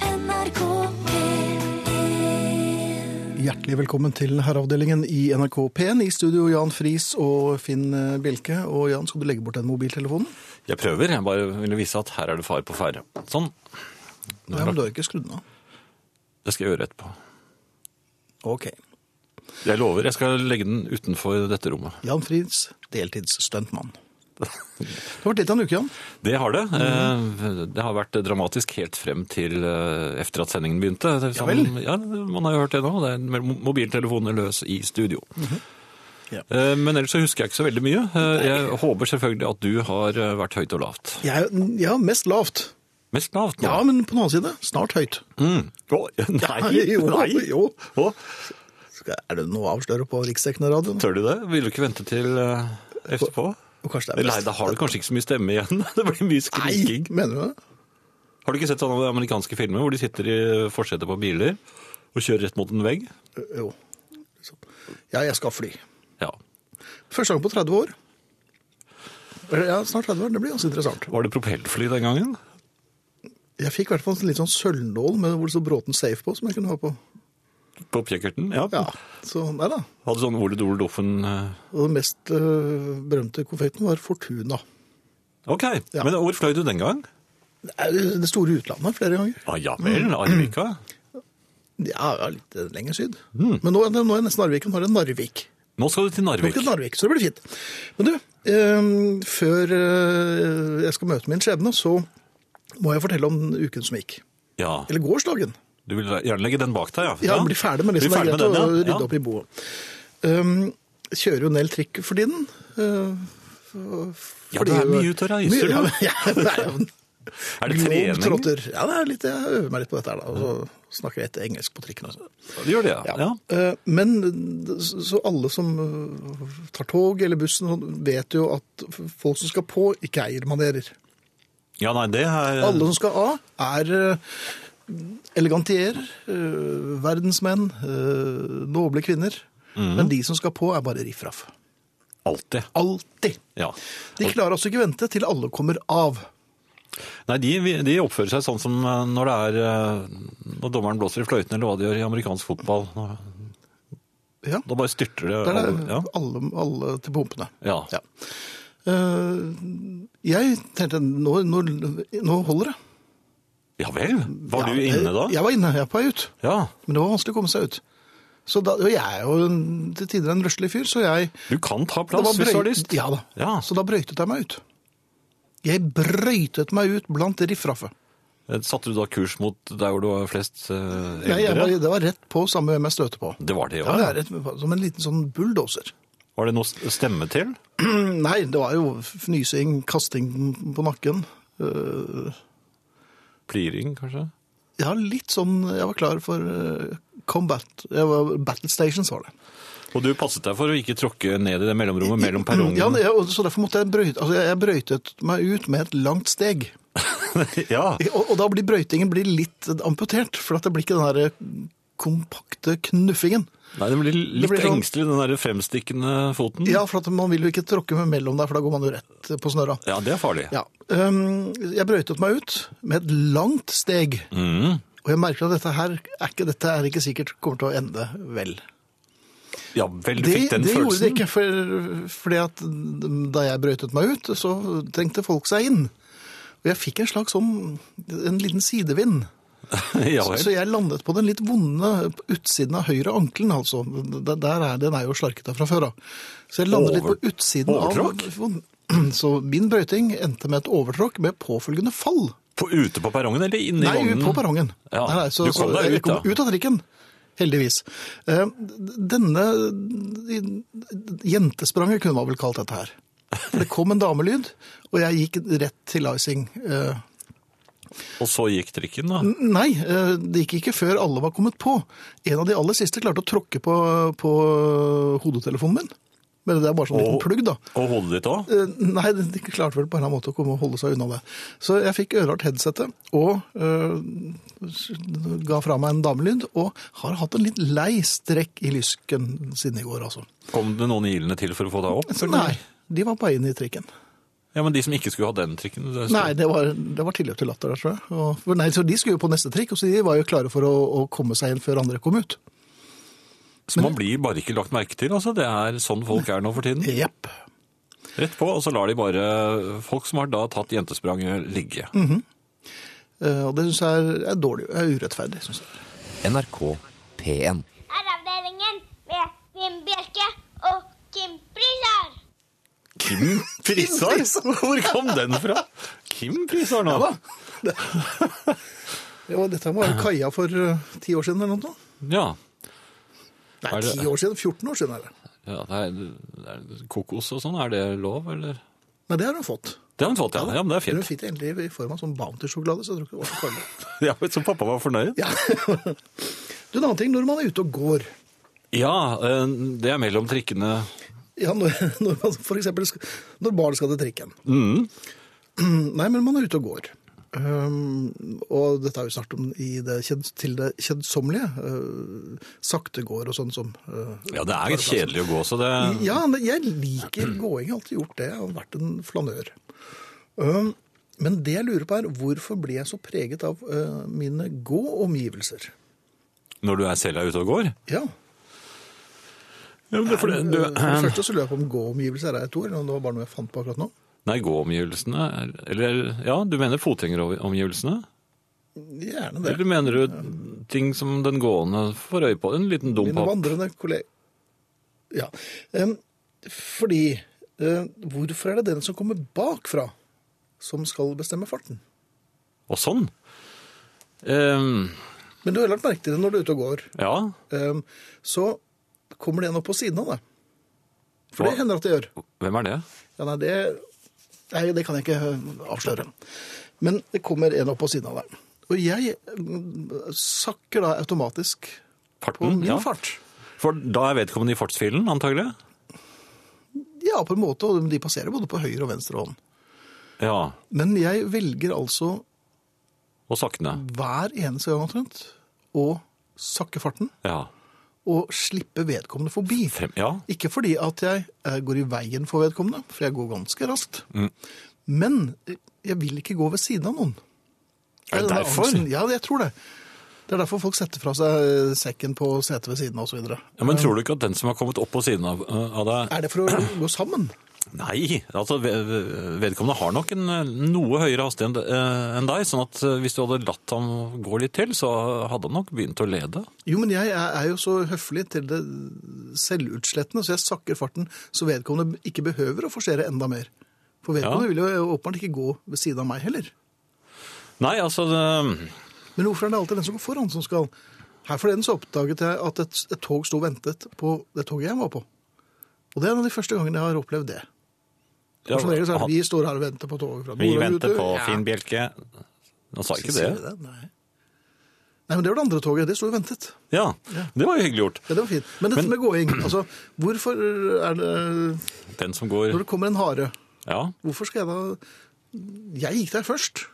NRK P1 Hjertelig velkommen til Herreavdelingen i NRK P1. I studio Jan Friis og Finn eh, Bjelke. Og Jan, skal du legge bort den mobiltelefonen? Jeg prøver, jeg bare ville vise at her er det fare på ferde. Sånn. Nå Nei, er men det- du har ikke skrudd den av. Det skal jeg gjøre etterpå. Ok. Jeg lover, jeg skal legge den utenfor dette rommet. Jan Friis, deltidsstuntmann. Det har vært litt av en uke, Jan. Det har det. Mhm. Eh, Det har vært dramatisk helt frem til eh, efter at sendingen begynte. Det er Ja sånn- Ja, man har jo hørt det nå. Det er med mobiltelefonene løs i studio. Mhm. Ja. Eh, Men ellers så husker jeg ikke så veldig mye. Eh, Jeg håper selvfølgelig at du har eh, vært høyt og lavt. Jeg, er- ja, mest lavt. Mest lavt nå. Ja, men på den annen side, snart høyt. Mm. Å, nei, jo, nei. jo. Å, Skal- Er det noe å avsløre på riksdekkende radio? tør du det? Vil du ikke vente til eh, etterpå? Og Kanskje det er Nei, da best. har du kanskje ikke så mye stemme igjen. Det blir mye Nei, skriking. mener du det? Har du ikke sett sånne amerikanske filmer hvor de sitter i forsetet på biler og kjører rett mot en vegg? Jo. Ja, jeg skal fly. Ja. Første gang på 30 år. Eller, Ja, snart 30 år. Det blir ganske interessant. Var det propellfly den gangen? Jeg fikk i hvert fall en litt sånn sølvnål med hvor det stod Bråten Safe på, som jeg kunne ha på. På kjekkerten? Ja. Ja, så nei da. Hadde sånn Ole Dole Doffen eh, Og den mest øh, berømte konfekten var Fortuna. Ok, Ja. men hvor fløy du den gang? Det er jo det store utlandet flere ganger. Ah, ja Mm. vel, Arvika. Ja, ja litt øh, lenger syd. Mm. Men nå, er det- nå er det nesten Narvik, og nå er det Narvik. Nå skal du til Nå er Narvik. det Narvik, så det blir fint. Men du, øh, før øh, jeg skal møte min skjebne, så må jeg fortelle om uken som gikk. Ja, Eller gårsdagen. Du vil gjerne legge den bak deg, ja? Ja, bli ferdig med det Bli som er ferdig greit å med den, rydde ja. opp i boet. Um, kjører jo en del trikk for tiden. Uh, f- Ja, fordi- du er mye ute og Mye- reiser, du. Ja, men- ja, det er jo en Er det trening? globetrotter. Ja, det er litt, jeg øver meg litt på dette her, da. Og så snakker jeg etter engelsk på trikken. Også. Du gjør det, ja. ja. Eh, Men eh, så alle som eh, tar tog eller bussen, sånn, vet jo at folk som skal på, ikke eier manerer. Ja, nei, det er Alle som skal av, er eh, elegantier, eh, verdensmenn, eh, noble kvinner. Mhm. Men de som skal på, er bare riffraff. alltid. Alltid. Ja. De klarer altså ikke vente til alle kommer av. Nei, de, de oppfører seg sånn som eh, når det er eh, Når dommeren blåser i fløyten, eller hva de gjør i amerikansk fotball. Nå- Ja, Da bare styrter det. Der er alle- ja. alle, alle til pumpene. Ja. Ja. Eh, jeg tenkte nå, nå, nå holder det. ja vel? Var du Ja, inne da? Jeg var inne, jeg er på vei ut. Ja. Men det var vanskelig å komme seg ut. Så da, og jeg er jo en- til tider en røslig fyr, så jeg Du kan ta Det plass var hvis du har brøy- lyst. Ja da. Ja. Så da brøytet jeg meg ut. Jeg brøytet meg ut blant riffraffet. Eh, Satte du da kurs mot der hvor det var flest eh, Jeg, jeg eldre? var, det var rett på samme hvem jeg støter på. Det var det, Ja, ja. det er rett, som en liten sånn bulldoser. Var det noe s- stemme til? Nei, det var jo fnysing, kasting på nakken. Eh, Pliring, kanskje? Jeg har litt sånn Jeg var klar for eh, combat. Jeg var, battle stations var det. Og du passet deg for å ikke tråkke ned i det mellomrommet mellom perrongen? Ja, det- og så derfor måtte jeg brøyte Altså, jeg, jeg brøytet meg ut med et langt steg. Ja. Og, og da blir brøytingen blir litt amputert, for at det blir ikke den der kompakte knuffingen. Nei, det blir litt blir sånn- engstelig, den der fremstikkende foten. Ja, for at man vil jo ikke tråkke med mellom der, for da går man jo rett på snøra. Ja, det er farlig. Ja. Øhm, jeg brøytet meg ut med et langt steg, Mm. og jeg merker at dette her er ikke, dette er ikke sikkert kommer til å ende vel. ja vel, du Det, fikk den det gjorde det følelsen. ikke, for, fordi at da jeg brøytet meg ut, så trengte folk seg inn. Og jeg fikk en slags sånn, en liten sidevind. ja, vel. Så jeg landet på den litt vonde utsiden av høyre ankelen, altså. Der, der er, den er jo slarket av fra før av. Så jeg landet Over- litt på utsiden overtråkk? av Så min brøyting endte med et overtråkk med påfølgende fall. På, ute på perrongen eller inne Nei, i vognen? på perrongen. Ja. Nei, nei, så, du så, kom deg jeg ut, da. kom ut av trikken. Heldigvis. Eh, Denne jentespranget kunne man vel kalt dette her. For det kom en damelyd, og jeg gikk rett til icing. Eh, Og så gikk trikken, da. Nei, eh, det gikk ikke før alle var kommet på. En av de aller siste klarte å tråkke på, på hodetelefonen min. Men det er bare sånn liten Og- plugg, da. Og hodet ditt òg? Eh, Nei, de klarte vel på en eller annen måte å komme og holde seg unna det. Så jeg fikk ørart headsetet og eh, ga fra meg en damelyd, og har hatt en litt lei strekk i lysken siden i går, altså. Kom det noen ilende til for å få deg opp? Så nei, de var på vei inn i trikken. Ja, Men de som ikke skulle ha den trikken det står- Nei, det var, det var tilløp til latter der, tror jeg. Og, for nei, så de skulle jo på neste trikk, og så de var jo klare for å, å komme seg inn før andre kom ut. Så man blir bare ikke lagt merke til. altså. Det er sånn folk er nå for tiden. Jepp. Rett på, og så lar de bare folk som har da tatt jentespranget, ligge. Mhm. Eh, Og det syns jeg er, er dårlig. Er urettferdig, syns jeg. NRK P1. Herreavdelingen med Kim Bjelke og Kim Prisar. Kim Prisar? Hvor kom den fra? Kim Prisar Ja, nå? da. Det, det var, dette må være kaia for eh, ti år siden eller noe. sånt. Ja. Nei, Er det- ti år siden. 14 år siden er det. ja det er, det er kokos og sånn, er det lov, eller? Nei, det har hun fått. Det har hun fått, ja. ja men det er Hun fint. fikk det endelig i form av sånn Bounty-sjokolade, så jeg tror ikke det var så farlig. Ja, så pappa var fornøyd? Ja. Du, en annen ting, når man er ute og går Ja, eh, det er mellom trikkene. ja, når, når man for eksempel skal, når barn skal til trikken. Mm. Nei, men man er ute og går. Um, og dette har vi snakket om i det kjed, til det kjedsommelige. Uh, sakte går og sånn som uh, Ja, det er kjedelig å gå, så det Ja, men jeg liker gåing. Jeg har alltid gjort det. Jeg har vært en flanør. Um, men det jeg lurer på er, hvorfor ble jeg så preget av uh, mine gåomgivelser? Når du er selv er ute og går? Ja. Ja, men det er fordi Uh, For det du, eh, første så lurer jeg på om gåomgivelser er et ord. eller om Det var bare noe jeg fant på akkurat nå. nei, gåomgivelsene er- Eller ja, du mener fotgjengeromgivelsene? Gjerne det. Eller mener du ting som den gående får øye på? En liten dum Mine papp? vandrende kolleger. Ja. Em, fordi eh, Hvorfor er det den som kommer bakfra, som skal bestemme farten? Og sånn? Ehm, Men du har lagt merke til det når du er ute og går. ja. Em, så kommer det en opp på siden av deg. For det Hva? hender at det gjør. Hvem er det? Ja, nei, det, nei, det kan jeg ikke eh, avsløre. Men det kommer en opp på siden av deg. Og jeg mm, sakker da automatisk på Farten? min Mm, Ja. fart. For da er vedkommende i fartsfilen, antagelig? Ja, på en måte. Og de passerer både på høyre og venstre hånd. Ja. Men jeg velger altså Og sakne. hver eneste gang omtrent å sakke farten Ja. og slippe vedkommende forbi. Frem, ja. Ikke fordi at jeg eh, går i veien for vedkommende, for jeg går ganske raskt. Mm. Men eh, jeg vil ikke gå ved siden av noen. Er det denne derfor? angsten. Ja, jeg tror det. Det er derfor folk setter fra seg eh, sekken på setet ved siden av osv. ja. Men tror du ikke at den som har kommet opp på siden av, eh, av deg Er det for å gå sammen? Nei, altså ved- vedkommende har nok en eh, noe høyere hastighet enn- eh, enn deg, sånn at eh, hvis du hadde latt ham gå litt til, så hadde han nok begynt å lede. Jo, men jeg er er jo så høflig til det selvutslettende, så jeg sakker farten så vedkommende ikke behøver å forsere enda mer. For vedkommende Ja. vil jo åpenbart ikke gå ved siden av meg heller. Nei, altså det, Men hvorfor er det alltid den som går foran som skal? Her forleden så oppdaget jeg at et, et tog sto og ventet på det toget jeg var på. Og det er en av de første gangene jeg har opplevd det. ja, For som regel så er det han- vi står her og venter på toget fra Vi Norge venter ut, på ja. Finn Bjelke. Han sa ikke det. Sier vi Nei. Nei, men det var det andre toget. Det sto og ventet. Ja, det var jo hyggelig gjort. Ja, det var fint. Men dette med gåing, altså hvorfor er det Den som Når går det kommer en hare Ja. Hvorfor skal jeg da Jeg gikk der først.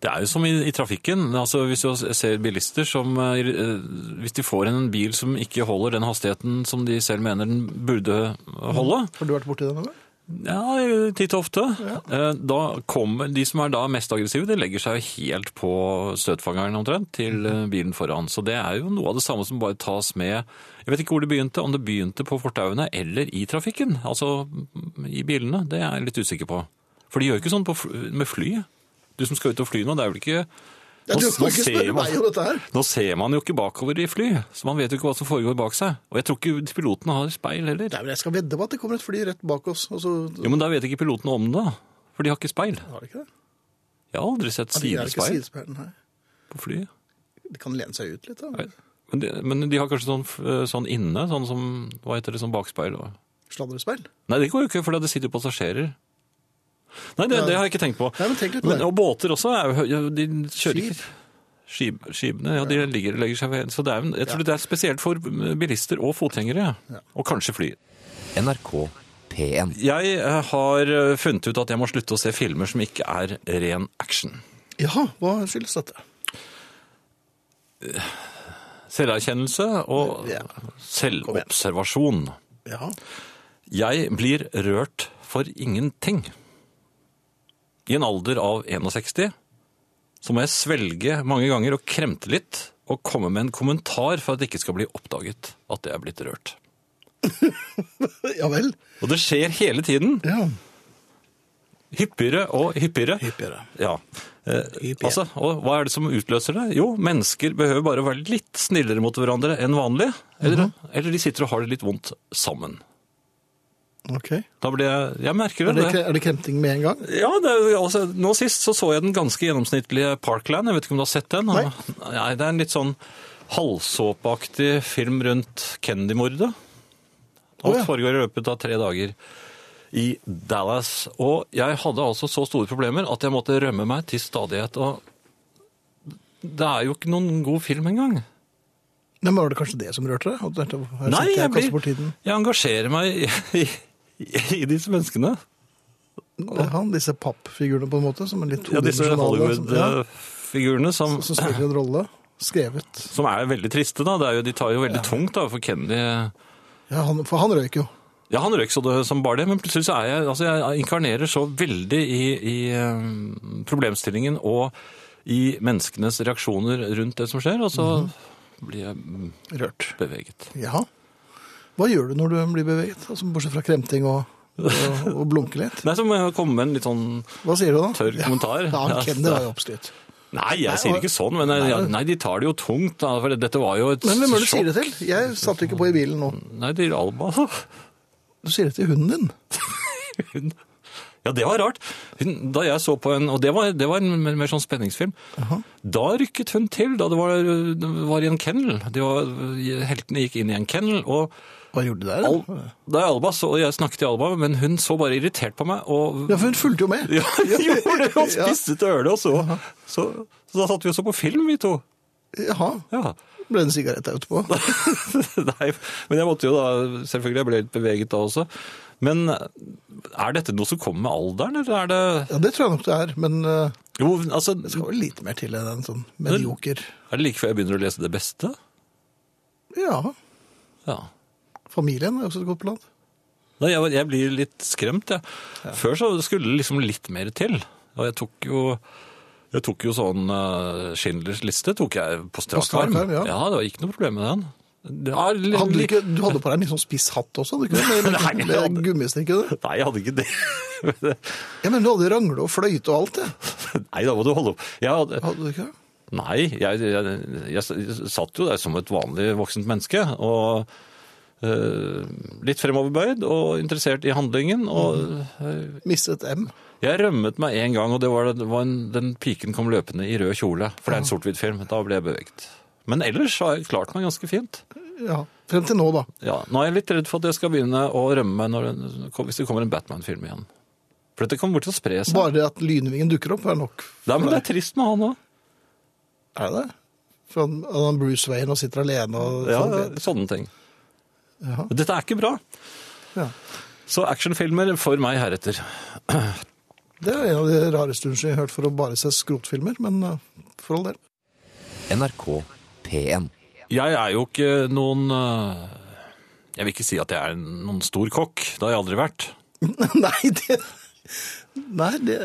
Det er jo som i, i trafikken. Altså, hvis du ser bilister som eh, eh, Hvis de får en bil som ikke holder den hastigheten som de selv mener den burde holde, Har du vært borti det noen gang? ja, titt og ofte, eh, da kommer de som er da mest aggressive, de legger seg jo helt på støtfangeren omtrent til Mhm. eh, bilen foran. Så det er jo noe av det samme som bare tas med Jeg vet ikke hvor det begynte, om det begynte på fortauene eller i trafikken. Altså mm, i bilene. Det er jeg litt usikker på. For de gjør jo ikke sånn på, fl- med fly. Du som skal ut og fly nå, det er vel ikke Jeg nå, tror ikke nå, du ser spør meg om man, dette her. nå ser man jo ikke bakover i fly, så man vet jo ikke hva som foregår bak seg. Og jeg tror ikke pilotene har speil heller. Nei, men Jeg skal vedde på at det kommer et fly rett bak oss. Og så Jo, Men da vet ikke pilotene om det, for de har ikke speil. har de ikke det. Jeg har aldri sett Ja, de er ikke sidespeil sidespeil, nei. på fly. De kan lene seg ut litt. da. Nei. Men de, men de har kanskje sånn, f- sånn inne, sånn som Hva heter det, sånn bakspeil? og- Sladrespeil. Nei, det går jo ikke, for det sitter jo passasjerer. Nei, det, det har jeg ikke tenkt på. Nei, men tenk litt på Men, det. og båter også. Er, jo hø- ja, de kjører Skip. ikke Skib, Skipene, ja, de ligger, legger seg ved. Så det er, jo en- jeg tror det er spesielt for bilister og fotgjengere. Og kanskje fly. NRK P1. Jeg eh, har eh, funnet ut at jeg må slutte å se filmer som ikke er ren action. Ja, hva skyldes dette? Selverkjennelse og Ja. selvobservasjon. Ja, Jeg blir rørt for ingenting. i en alder av 61, så må jeg svelge mange ganger og kremte litt og komme med en kommentar for at det ikke skal bli oppdaget at jeg er blitt rørt. Ja vel. Og det skjer hele tiden. Ja. Hyppigere og hyppigere. Hyppigere. Ja. Eh, Hyppigere. altså, og hva er det som utløser det? Jo, mennesker behøver bare å være litt snillere mot hverandre enn vanlig. Eller, Mhm. eller de sitter og har det litt vondt sammen. Ok. Er Da blir jeg Jeg merker det, vel det. kre- er det kremting med en gang? Ja, det, er jo- altså, Nå sist så, så jeg den ganske gjennomsnittlige Parkland. Jeg vet ikke om du har sett den? Nei. Nei, Det er en litt sånn halvsåpeaktig film rundt Kennedy-mordet. Alt Å, ja. foregår i løpet av tre dager i Dallas. Og jeg hadde altså så store problemer at jeg måtte rømme meg til stadighet. Og det er jo ikke noen god film engang. Nei, men Var det kanskje det som rørte deg? At du tenkte, her Nei, sitter jeg, og kaster blir, bort tiden. jeg engasjerer meg i, i, i disse menneskene. Det er han, disse pappfigurene på en måte, som er litt Ja, disse eh, todimensjonale. som- ja, Hollywood-figurene som som spiller en rolle. Skrevet. Som er veldig triste, da. Det er jo, de tar jo veldig tungt, da, for Kennedy Ja, han, for han røyk jo. Ja, han røyk så det som bare det, men plutselig så er jeg Altså, jeg inkarnerer så veldig i, i eh, problemstillingen og i menneskenes reaksjoner rundt det som skjer, og så Mhm. blir jeg mm, Rørt. beveget. Ja. Hva gjør du når du blir beveget? Altså, bortsett fra kremting og, og, og blunke litt. Nei, så må jeg komme med en litt sånn Hva sier du da? Tørr kommentar. Ja, Ja, han Kennedy var jo oppskrytt. Nei, jeg Nei, sier og- ikke sånn, men jeg, ja, nei, de tar det jo tungt, da, for dette var jo et Men hvem er det du sier sjokk. det til? Jeg satt ikke på i bilen nå. Nei, til Alba. Du sier det til hunden din. Hun Ja, det var rart. Hun, da jeg så på en Og det var, det var en mer, mer sånn spenningsfilm. Da rykket hun til, da det var, det var i en kennel. De var, heltene gikk inn i en kennel, og Hva gjorde du der? Al, da er Alba så, og jeg snakket til Alba, men hun så bare irritert på meg, og Ja, for hun fulgte jo med. Ja, gjorde det! Og Ja. spiste til ølet, og så, så Så da satt vi og så på film, vi to. Jaha. Ja. Ble det en sigarett der etterpå? Nei, men jeg måtte jo da Selvfølgelig, jeg ble litt beveget da også. Men er dette noe som kommer med alderen, eller er det Ja, det tror jeg nok det er, men eh, Jo, altså det skal vel lite mer til enn en sånn medioker Er det like før jeg begynner å lese det beste? Ja. Ja. Familien er også et godt plan. Nei, jeg, var- jeg blir litt skremt, jeg. Før så skulle det liksom litt mer til. Og jeg tok jo, jeg tok jo sånn eh, Schindlers liste tok jeg på strak strak arm. arm, ja. det var ikke noe problem med den. Det var li- Hadde du, ikke, du hadde på deg en litt sånn spiss hatt også? Hadde du ikke det? Nei, Med, jeg med, hadde- med gummistrikk og det? Nei, jeg hadde ikke det. Men det- Ja, men du hadde rangle og fløyte og alt, det. Nei, da må du holde opp. Jeg hadde, Hadde du ikke det? nei, jeg, jeg, jeg satt jo der som et vanlig voksent menneske, og eh, litt fremoverbøyd og interessert i handlingen, Mm. og Mistet M. Jeg rømmet meg en gang, og det var, det var en, den piken kom løpende i rød kjole. For det er en sort-hvitt film. Da ble jeg beveget. Men ellers har jeg klart meg ganske fint. Ja. Frem til nå, da. Ja, nå er jeg litt redd for at jeg skal begynne å rømme meg når det, hvis det kommer en Batman-film igjen. For dette kommer til å spre seg. Bare at lynvingen dukker opp, er nok. Nei, men det er trist med han òg. Er det det? For han, han Bruce Wayne og sitter alene og Ja, sånn. vet. sånne ting. Jaha. Men Dette er ikke bra. Ja. Så actionfilmer for meg heretter. Det er en av de rareste unnskyldningene jeg har hørt for å bare se skrotfilmer, men eh, for all del. NRK P1. Jeg er jo ikke noen øh, Jeg vil ikke si at jeg er noen stor kokk. Det har jeg aldri vært. Nei, det Nei, det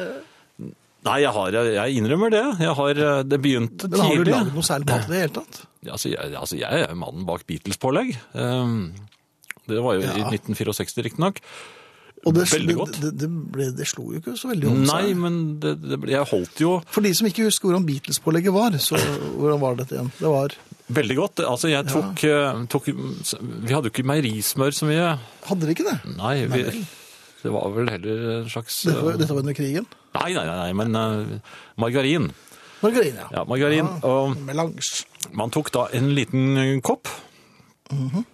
Nei, jeg, har, jeg, jeg innrømmer det. Jeg har, eh, det begynte Men har du tidlig. lagd noe særlig mat i det hele tatt? Altså, jeg, altså, jeg er mannen bak Beatles-pålegg. Um, det var jo i Ja. 1964, riktignok. Og det, Veldig godt. Det, det, det, ble, det slo jo ikke så veldig om Nei, seg. men det, det, ble- jeg holdt jo For de som ikke husker hvordan Beatles-pålegget var, så hvordan var dette igjen? Det var veldig godt. Altså, jeg tok, eh, tok Vi hadde jo ikke meierismør så mye. Hadde de ikke det? Nei, vi, det var vel heller en slags Dette var, eh, dette var under krigen. Nei, nei, nei, nei men eh, margarin. Margarin, ja. Ja, margarin. Ah. Og Melange. Man tok da en liten kopp. Mhm.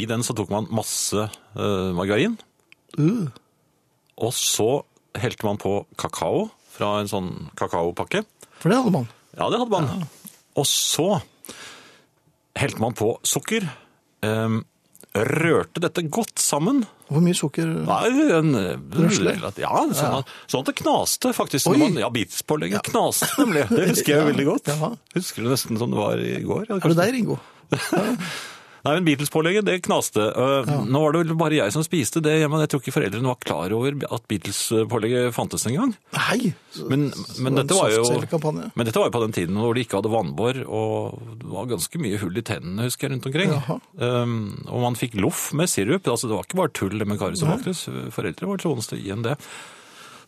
I den så tok man masse eh, margarin. Uh. Og så helte man på kakao fra en sånn kakaopakke. For det hadde man. Ja, det hadde man. Og så helte man på sukker. em, rørte dette godt sammen. Hvor mye sukker Nei, en, Røsle? ja, sånn, at, sånn at det knaste, faktisk. Oi. Når man, ja, Beatspålegget knaste, nemlig. Det husker jeg jo Ja, veldig godt. ja. Husker du nesten som det var i går? Ja, Er det deg, Ringo? Nei, men Beatles-pålegget, det knaste. Eh, Nå var det vel bare jeg som spiste det hjemme. Jeg tror ikke foreldrene var klar over at Beatles-pålegget fantes engang. Nei! Men, men, dette var jo, Kampanje. men dette var jo på den tiden hvor de ikke hadde vannbår, og det var ganske mye hull i tennene, husker jeg, rundt omkring. Jaha. Um, og man fikk loff med sirup. Altså, det var ikke bare tull med karis og kaktus. Foreldre var troeneste i enn det.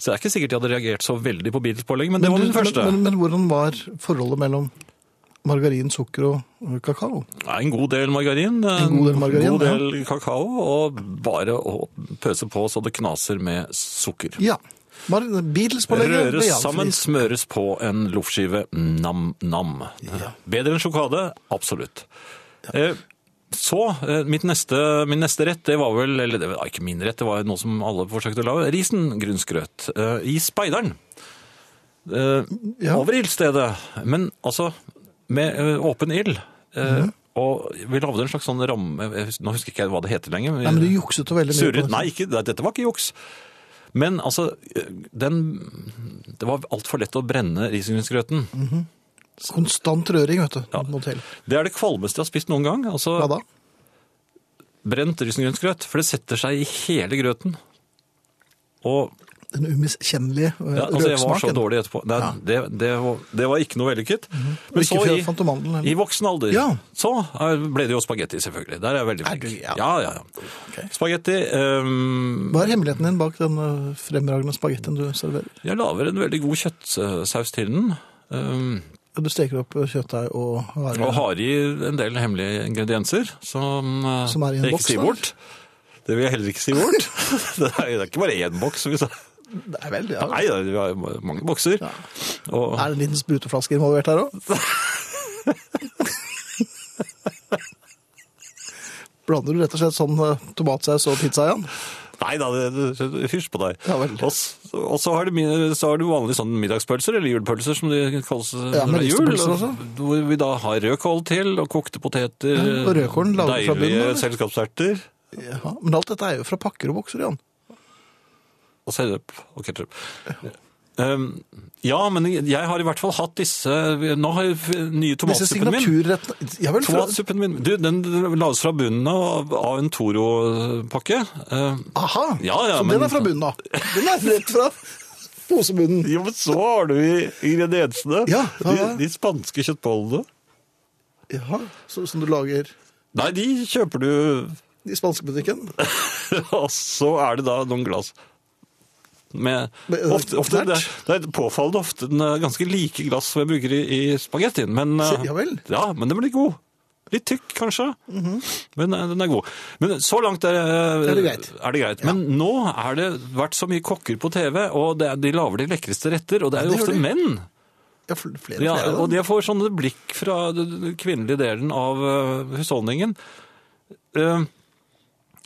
Så det er ikke sikkert de hadde reagert så veldig på Beatles-pålegg, men det var Men du- den første. Men, men, men hvordan var forholdet mellom margarin, sukker og kakao? Nei, En god del margarin, En god del margarin, god del kakao, og bare å pøse på så det knaser med sukker. Ja. Mar Beatles på legget. Røres sammen, smøres på en loffskive. Nam-nam. Bedre enn sjokade? Absolutt. Eh, Så, eh, mitt neste, min neste rett, det var vel, eller det var ikke min rett, det var noe som alle forsøkte å lage, risengrynsgrøt eh, i speideren. Eh, Ja. Over ildstedet, men altså med eh, åpen ild. Eh, Mhm. Og vi lagde en slags sånn ramme, jeg hus- nå husker ikke jeg hva det heter lenger. Nei, men du jukset jo veldig mye. på Surret? det. Nei, ikke, nei, dette var ikke juks. Men altså, den, det var altfor lett å brenne risengrynsgrøten. Mm. Konstant røring, vet du. Må til. Det er det kvalmeste jeg har spist noen gang. Altså, Hva da? Brent risengrynsgrøt, for det setter seg i hele grøten. Og Den umiskjennelige eh, ja, altså, jeg var så røksmaken. Mhm. dårlig etterpå. Nei, det, det, var, det var ikke noe vellykket. Men Ikke så i, fant du mandelen heller. i voksen alder Ja. så eh, ble det jo spagetti, selvfølgelig. Der er jeg veldig Er flink. du- ja. ja, ja, ja. Ok. Spagetti ehm, Hva er hemmeligheten din bak den eh, fremragende spagettien du serverer? Jeg lager en veldig god kjøttsaus til den. Ehm, Du steker opp eh, kjøttdeig og hare. Og har i en del hemmelige ingredienser som, eh, Som er i en jeg ikke boks, sier da? bort. Det vil jeg heller ikke si bort. det, er, det er ikke bare én boks. Vi sa. Det er veldig, ja. Nei, det er- vi har jo mange bokser. Og, Er det en liten spruteflaske involvert her òg? Blander du rett og slett sånn eh, tomatsaus og pizza igjen? nei da, det, det, hysj på deg. Ja vel. Og, s- og så har du mine- så har du vanlige sånn middagspølser, eller julepølser som de kalles eh, Ja, når med det er jul. ristepølser også. Hvor vi da har rødkål til, og kokte poteter, og rødkålen lager du fra bunnen, deilige eller? selskapserter. Ja, men alt dette er jo fra pakker og bokser igjen. Og sennep og ketsjup. Um, ja, men jeg har i hvert fall hatt disse Nå har jeg f- nye Disse tomatsuppen min. signaturrettene Ja vel, fra, Tomatsuppen min. Du, den lages fra bunnen av, av en Toro-pakke. Eh, aha! Ja, ja, så men- den er fra bunnen av. Den er rett fra posebunnen. jo, men så har du i- ingrediensene. Ja, ja, de, ja. de spanske kjøttbollene. Ja, så, som du lager Nei, de kjøper du, i spanskebutikken. og så er det da noen glass med Men, eh, ofte, ofte, det, nært? det er påfallende ofte den er ganske like glass som jeg bruker i, i spagettien. Men, eh, Se, ja vel. Mhm. ja, men den blir god. Litt tykk, kanskje, men eh, den er god. Men så langt er, eh, Er det greit? Er det greit. Men nå har det vært så mye kokker på TV, og det er, de lager de lekreste retter, og det er Ja, jo det gjør ofte de. menn. Ja, fl- flere og Ja, flere. og da. de får sånne blikk fra den den kvinnelige delen av eh, husholdningen. Eh,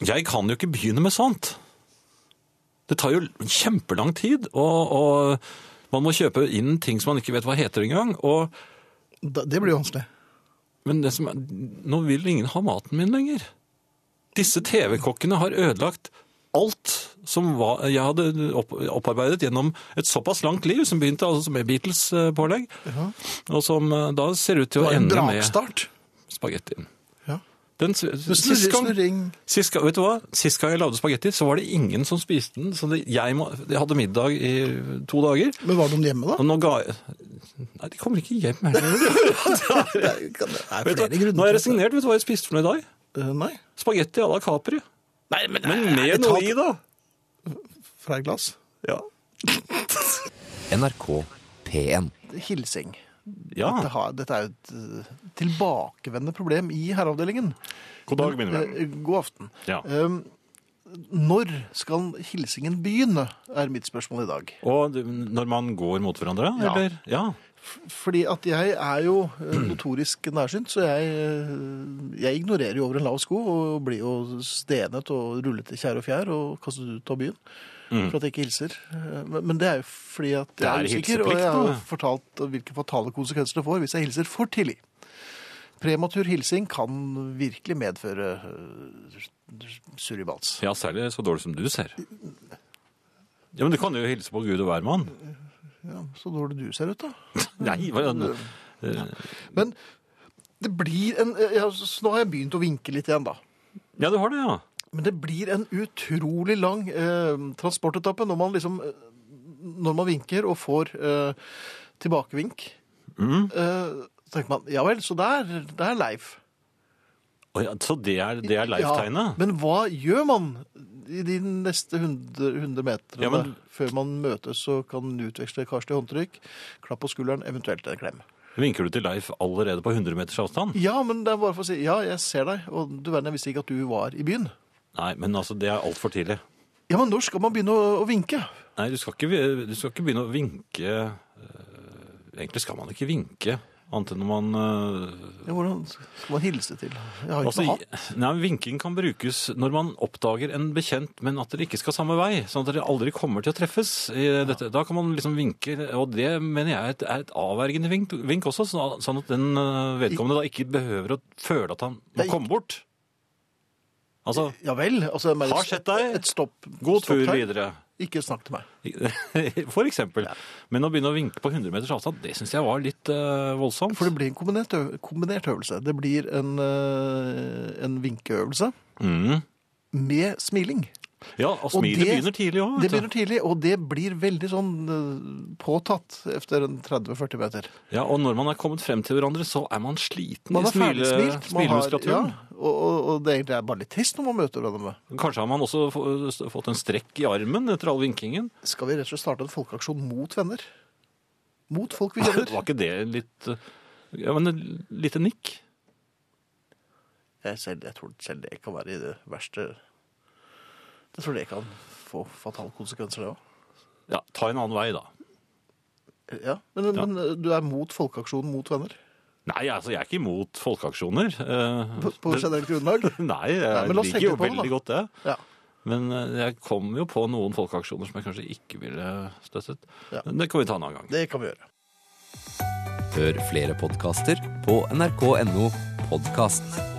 Jeg kan jo ikke begynne med sånt. Det tar jo kjempelang tid, og, og man må kjøpe inn ting som man ikke vet hva heter engang. Og, Da- Det blir jo vanskelig. men det som er, nå vil ingen ha maten min lenger. Disse TV-kokkene har ødelagt alt som var, jeg hadde opp, opparbeidet gjennom et såpass langt liv, som begynte altså med Beatles-pålegg, og som eh, da ser ut til Det å var en ende med brakstart. spagettien. Ja. Den, s- sist, Snurring, gang, snurring. sist, gang, vet du hva? sist gang jeg lagde spagetti, så var det ingen som spiste den. Så det, jeg, må, jeg hadde middag i to dager. Men var noen hjemme, Og da? nå ga jeg Nei, de kommer ikke hjem. Er det Det er- kan- det er Vet du hva? flere grunner. Nå sånn- har jeg til dette. resignert. Vet du hva jeg spiste for noe i dag? Eh, Nei. Spagetti à la Capri. Nei, men, Men med noe i, da. Fra et glass. Ja. NRK P1. Hilsing. ja. Dette, har, dette er jo et eh, tilbakevendende problem i herreavdelingen. God dag, mine venner. Eh, God aften. Ja. Um, når skal hilsingen begynne, er mitt spørsmål i dag. Og du- når man går mot hverandre, Ja. eller? Ja. Fordi at jeg er jo eh, notorisk nærsynt, så jeg, eh, jeg ignorerer jo over en lav sko og blir jo stenet og rullet i kjær og fjær og kastet ut av byen for at jeg ikke hilser. Eh, Men, men det er jo fordi at jeg er, Mm. Det er usikker, og jeg hilseplikt, har da. jo fortalt hvilke fatale konsekvenser det får hvis jeg hilser for tidlig. Prematur hilsing kan virkelig medføre eh, surribals. ja, særlig så dårlig som du ser. Ja, Men du kan jo hilse på Gud og hvermann. Mm. Ja, så dårlig du ser ut, da. eh, Nei, hva, Men Det blir en eh, ja, så Nå har jeg begynt å vinke litt igjen, da. Ja, du har det, ja. Men det blir en utrolig lang eh, transportetappe når man liksom eh, Når man vinker og får eh, tilbakevink. Mm. Eh, så tenker man ja vel, så der, der er Leif. Å ja, så det er, det er Ja, Leif-tegnet? men hva gjør man i de neste 100, 100 meterne? Ja, men- Før man møtes og kan utveksle karslige håndtrykk. Klapp på skulderen, eventuelt en klem. Vinker du til Leif allerede på 100 meters avstand? Ja, men det er bare for å si ja, jeg ser deg, og du verden, jeg visste ikke at du var i byen. Nei, men altså, det er altfor tidlig. Ja, men når skal man begynne å, å vinke? Nei, du skal, ikke, du skal ikke begynne å vinke eh, Egentlig skal man ikke vinke, annet enn når man eh, Ja, hvordan skal man hilse til? Jeg har ikke altså, noe hatt. nei, Vinking kan brukes når man oppdager en bekjent, men at dere ikke skal samme vei. Sånn at dere aldri kommer til å treffes. i dette. Da kan man liksom vinke, og det mener jeg er et, er et avvergende vink, vink også. Sånn at- sånn at den eh, vedkommende da ikke behøver å føle at han Det må er komme bort. Altså Ja vel. Altså, men- Har sett deg. Et stopp. God stopp tur her. videre. Ikke snakk til meg. For eksempel. Men å begynne å vinke på 100 meters avstand, det syns jeg var litt eh, voldsomt. For det blir en kombinert, øv kombinert øvelse. Det blir en, eh, en vinkeøvelse Mm. med smiling. Ja, og Og smilet det- begynner tidlig òg. Det begynner tidlig, og det blir veldig sånn eh, påtatt etter en 30-40 meter. Ja, og når man er kommet frem til hverandre, så er man sliten Man i er smile, ferdigsmilt. man har- smilemuskulaturen. Ja, og, og, og det egentlig er bare litt trist når man møter hverandre. Kanskje har man også få- fått en strekk i armen etter all vinkingen. Skal vi rett og slett starte en folkeaksjon mot venner? Mot folk vi kjenner? Var ikke det litt eh, Ja, men et lite nikk? Jeg, selv, jeg tror selv det kan være i det verste Jeg tror det kan få fatale konsekvenser, det òg. Ja, ta en annen vei, da. Ja, men, Ja. men du er mot folkeaksjonen mot venner? Nei, altså, jeg er ikke imot folkeaksjoner. eh, På, på det- generelt grunnlag? Nei, jeg Nei, men la oss liker tenke jo på det, da. veldig godt det. Ja. Men eh, jeg kom jo på noen folkeaksjoner som jeg kanskje ikke ville støttet. Ja. Men Det kan vi ta en annen gang. Det kan vi gjøre. Hør flere podkaster på nrk.no podkast.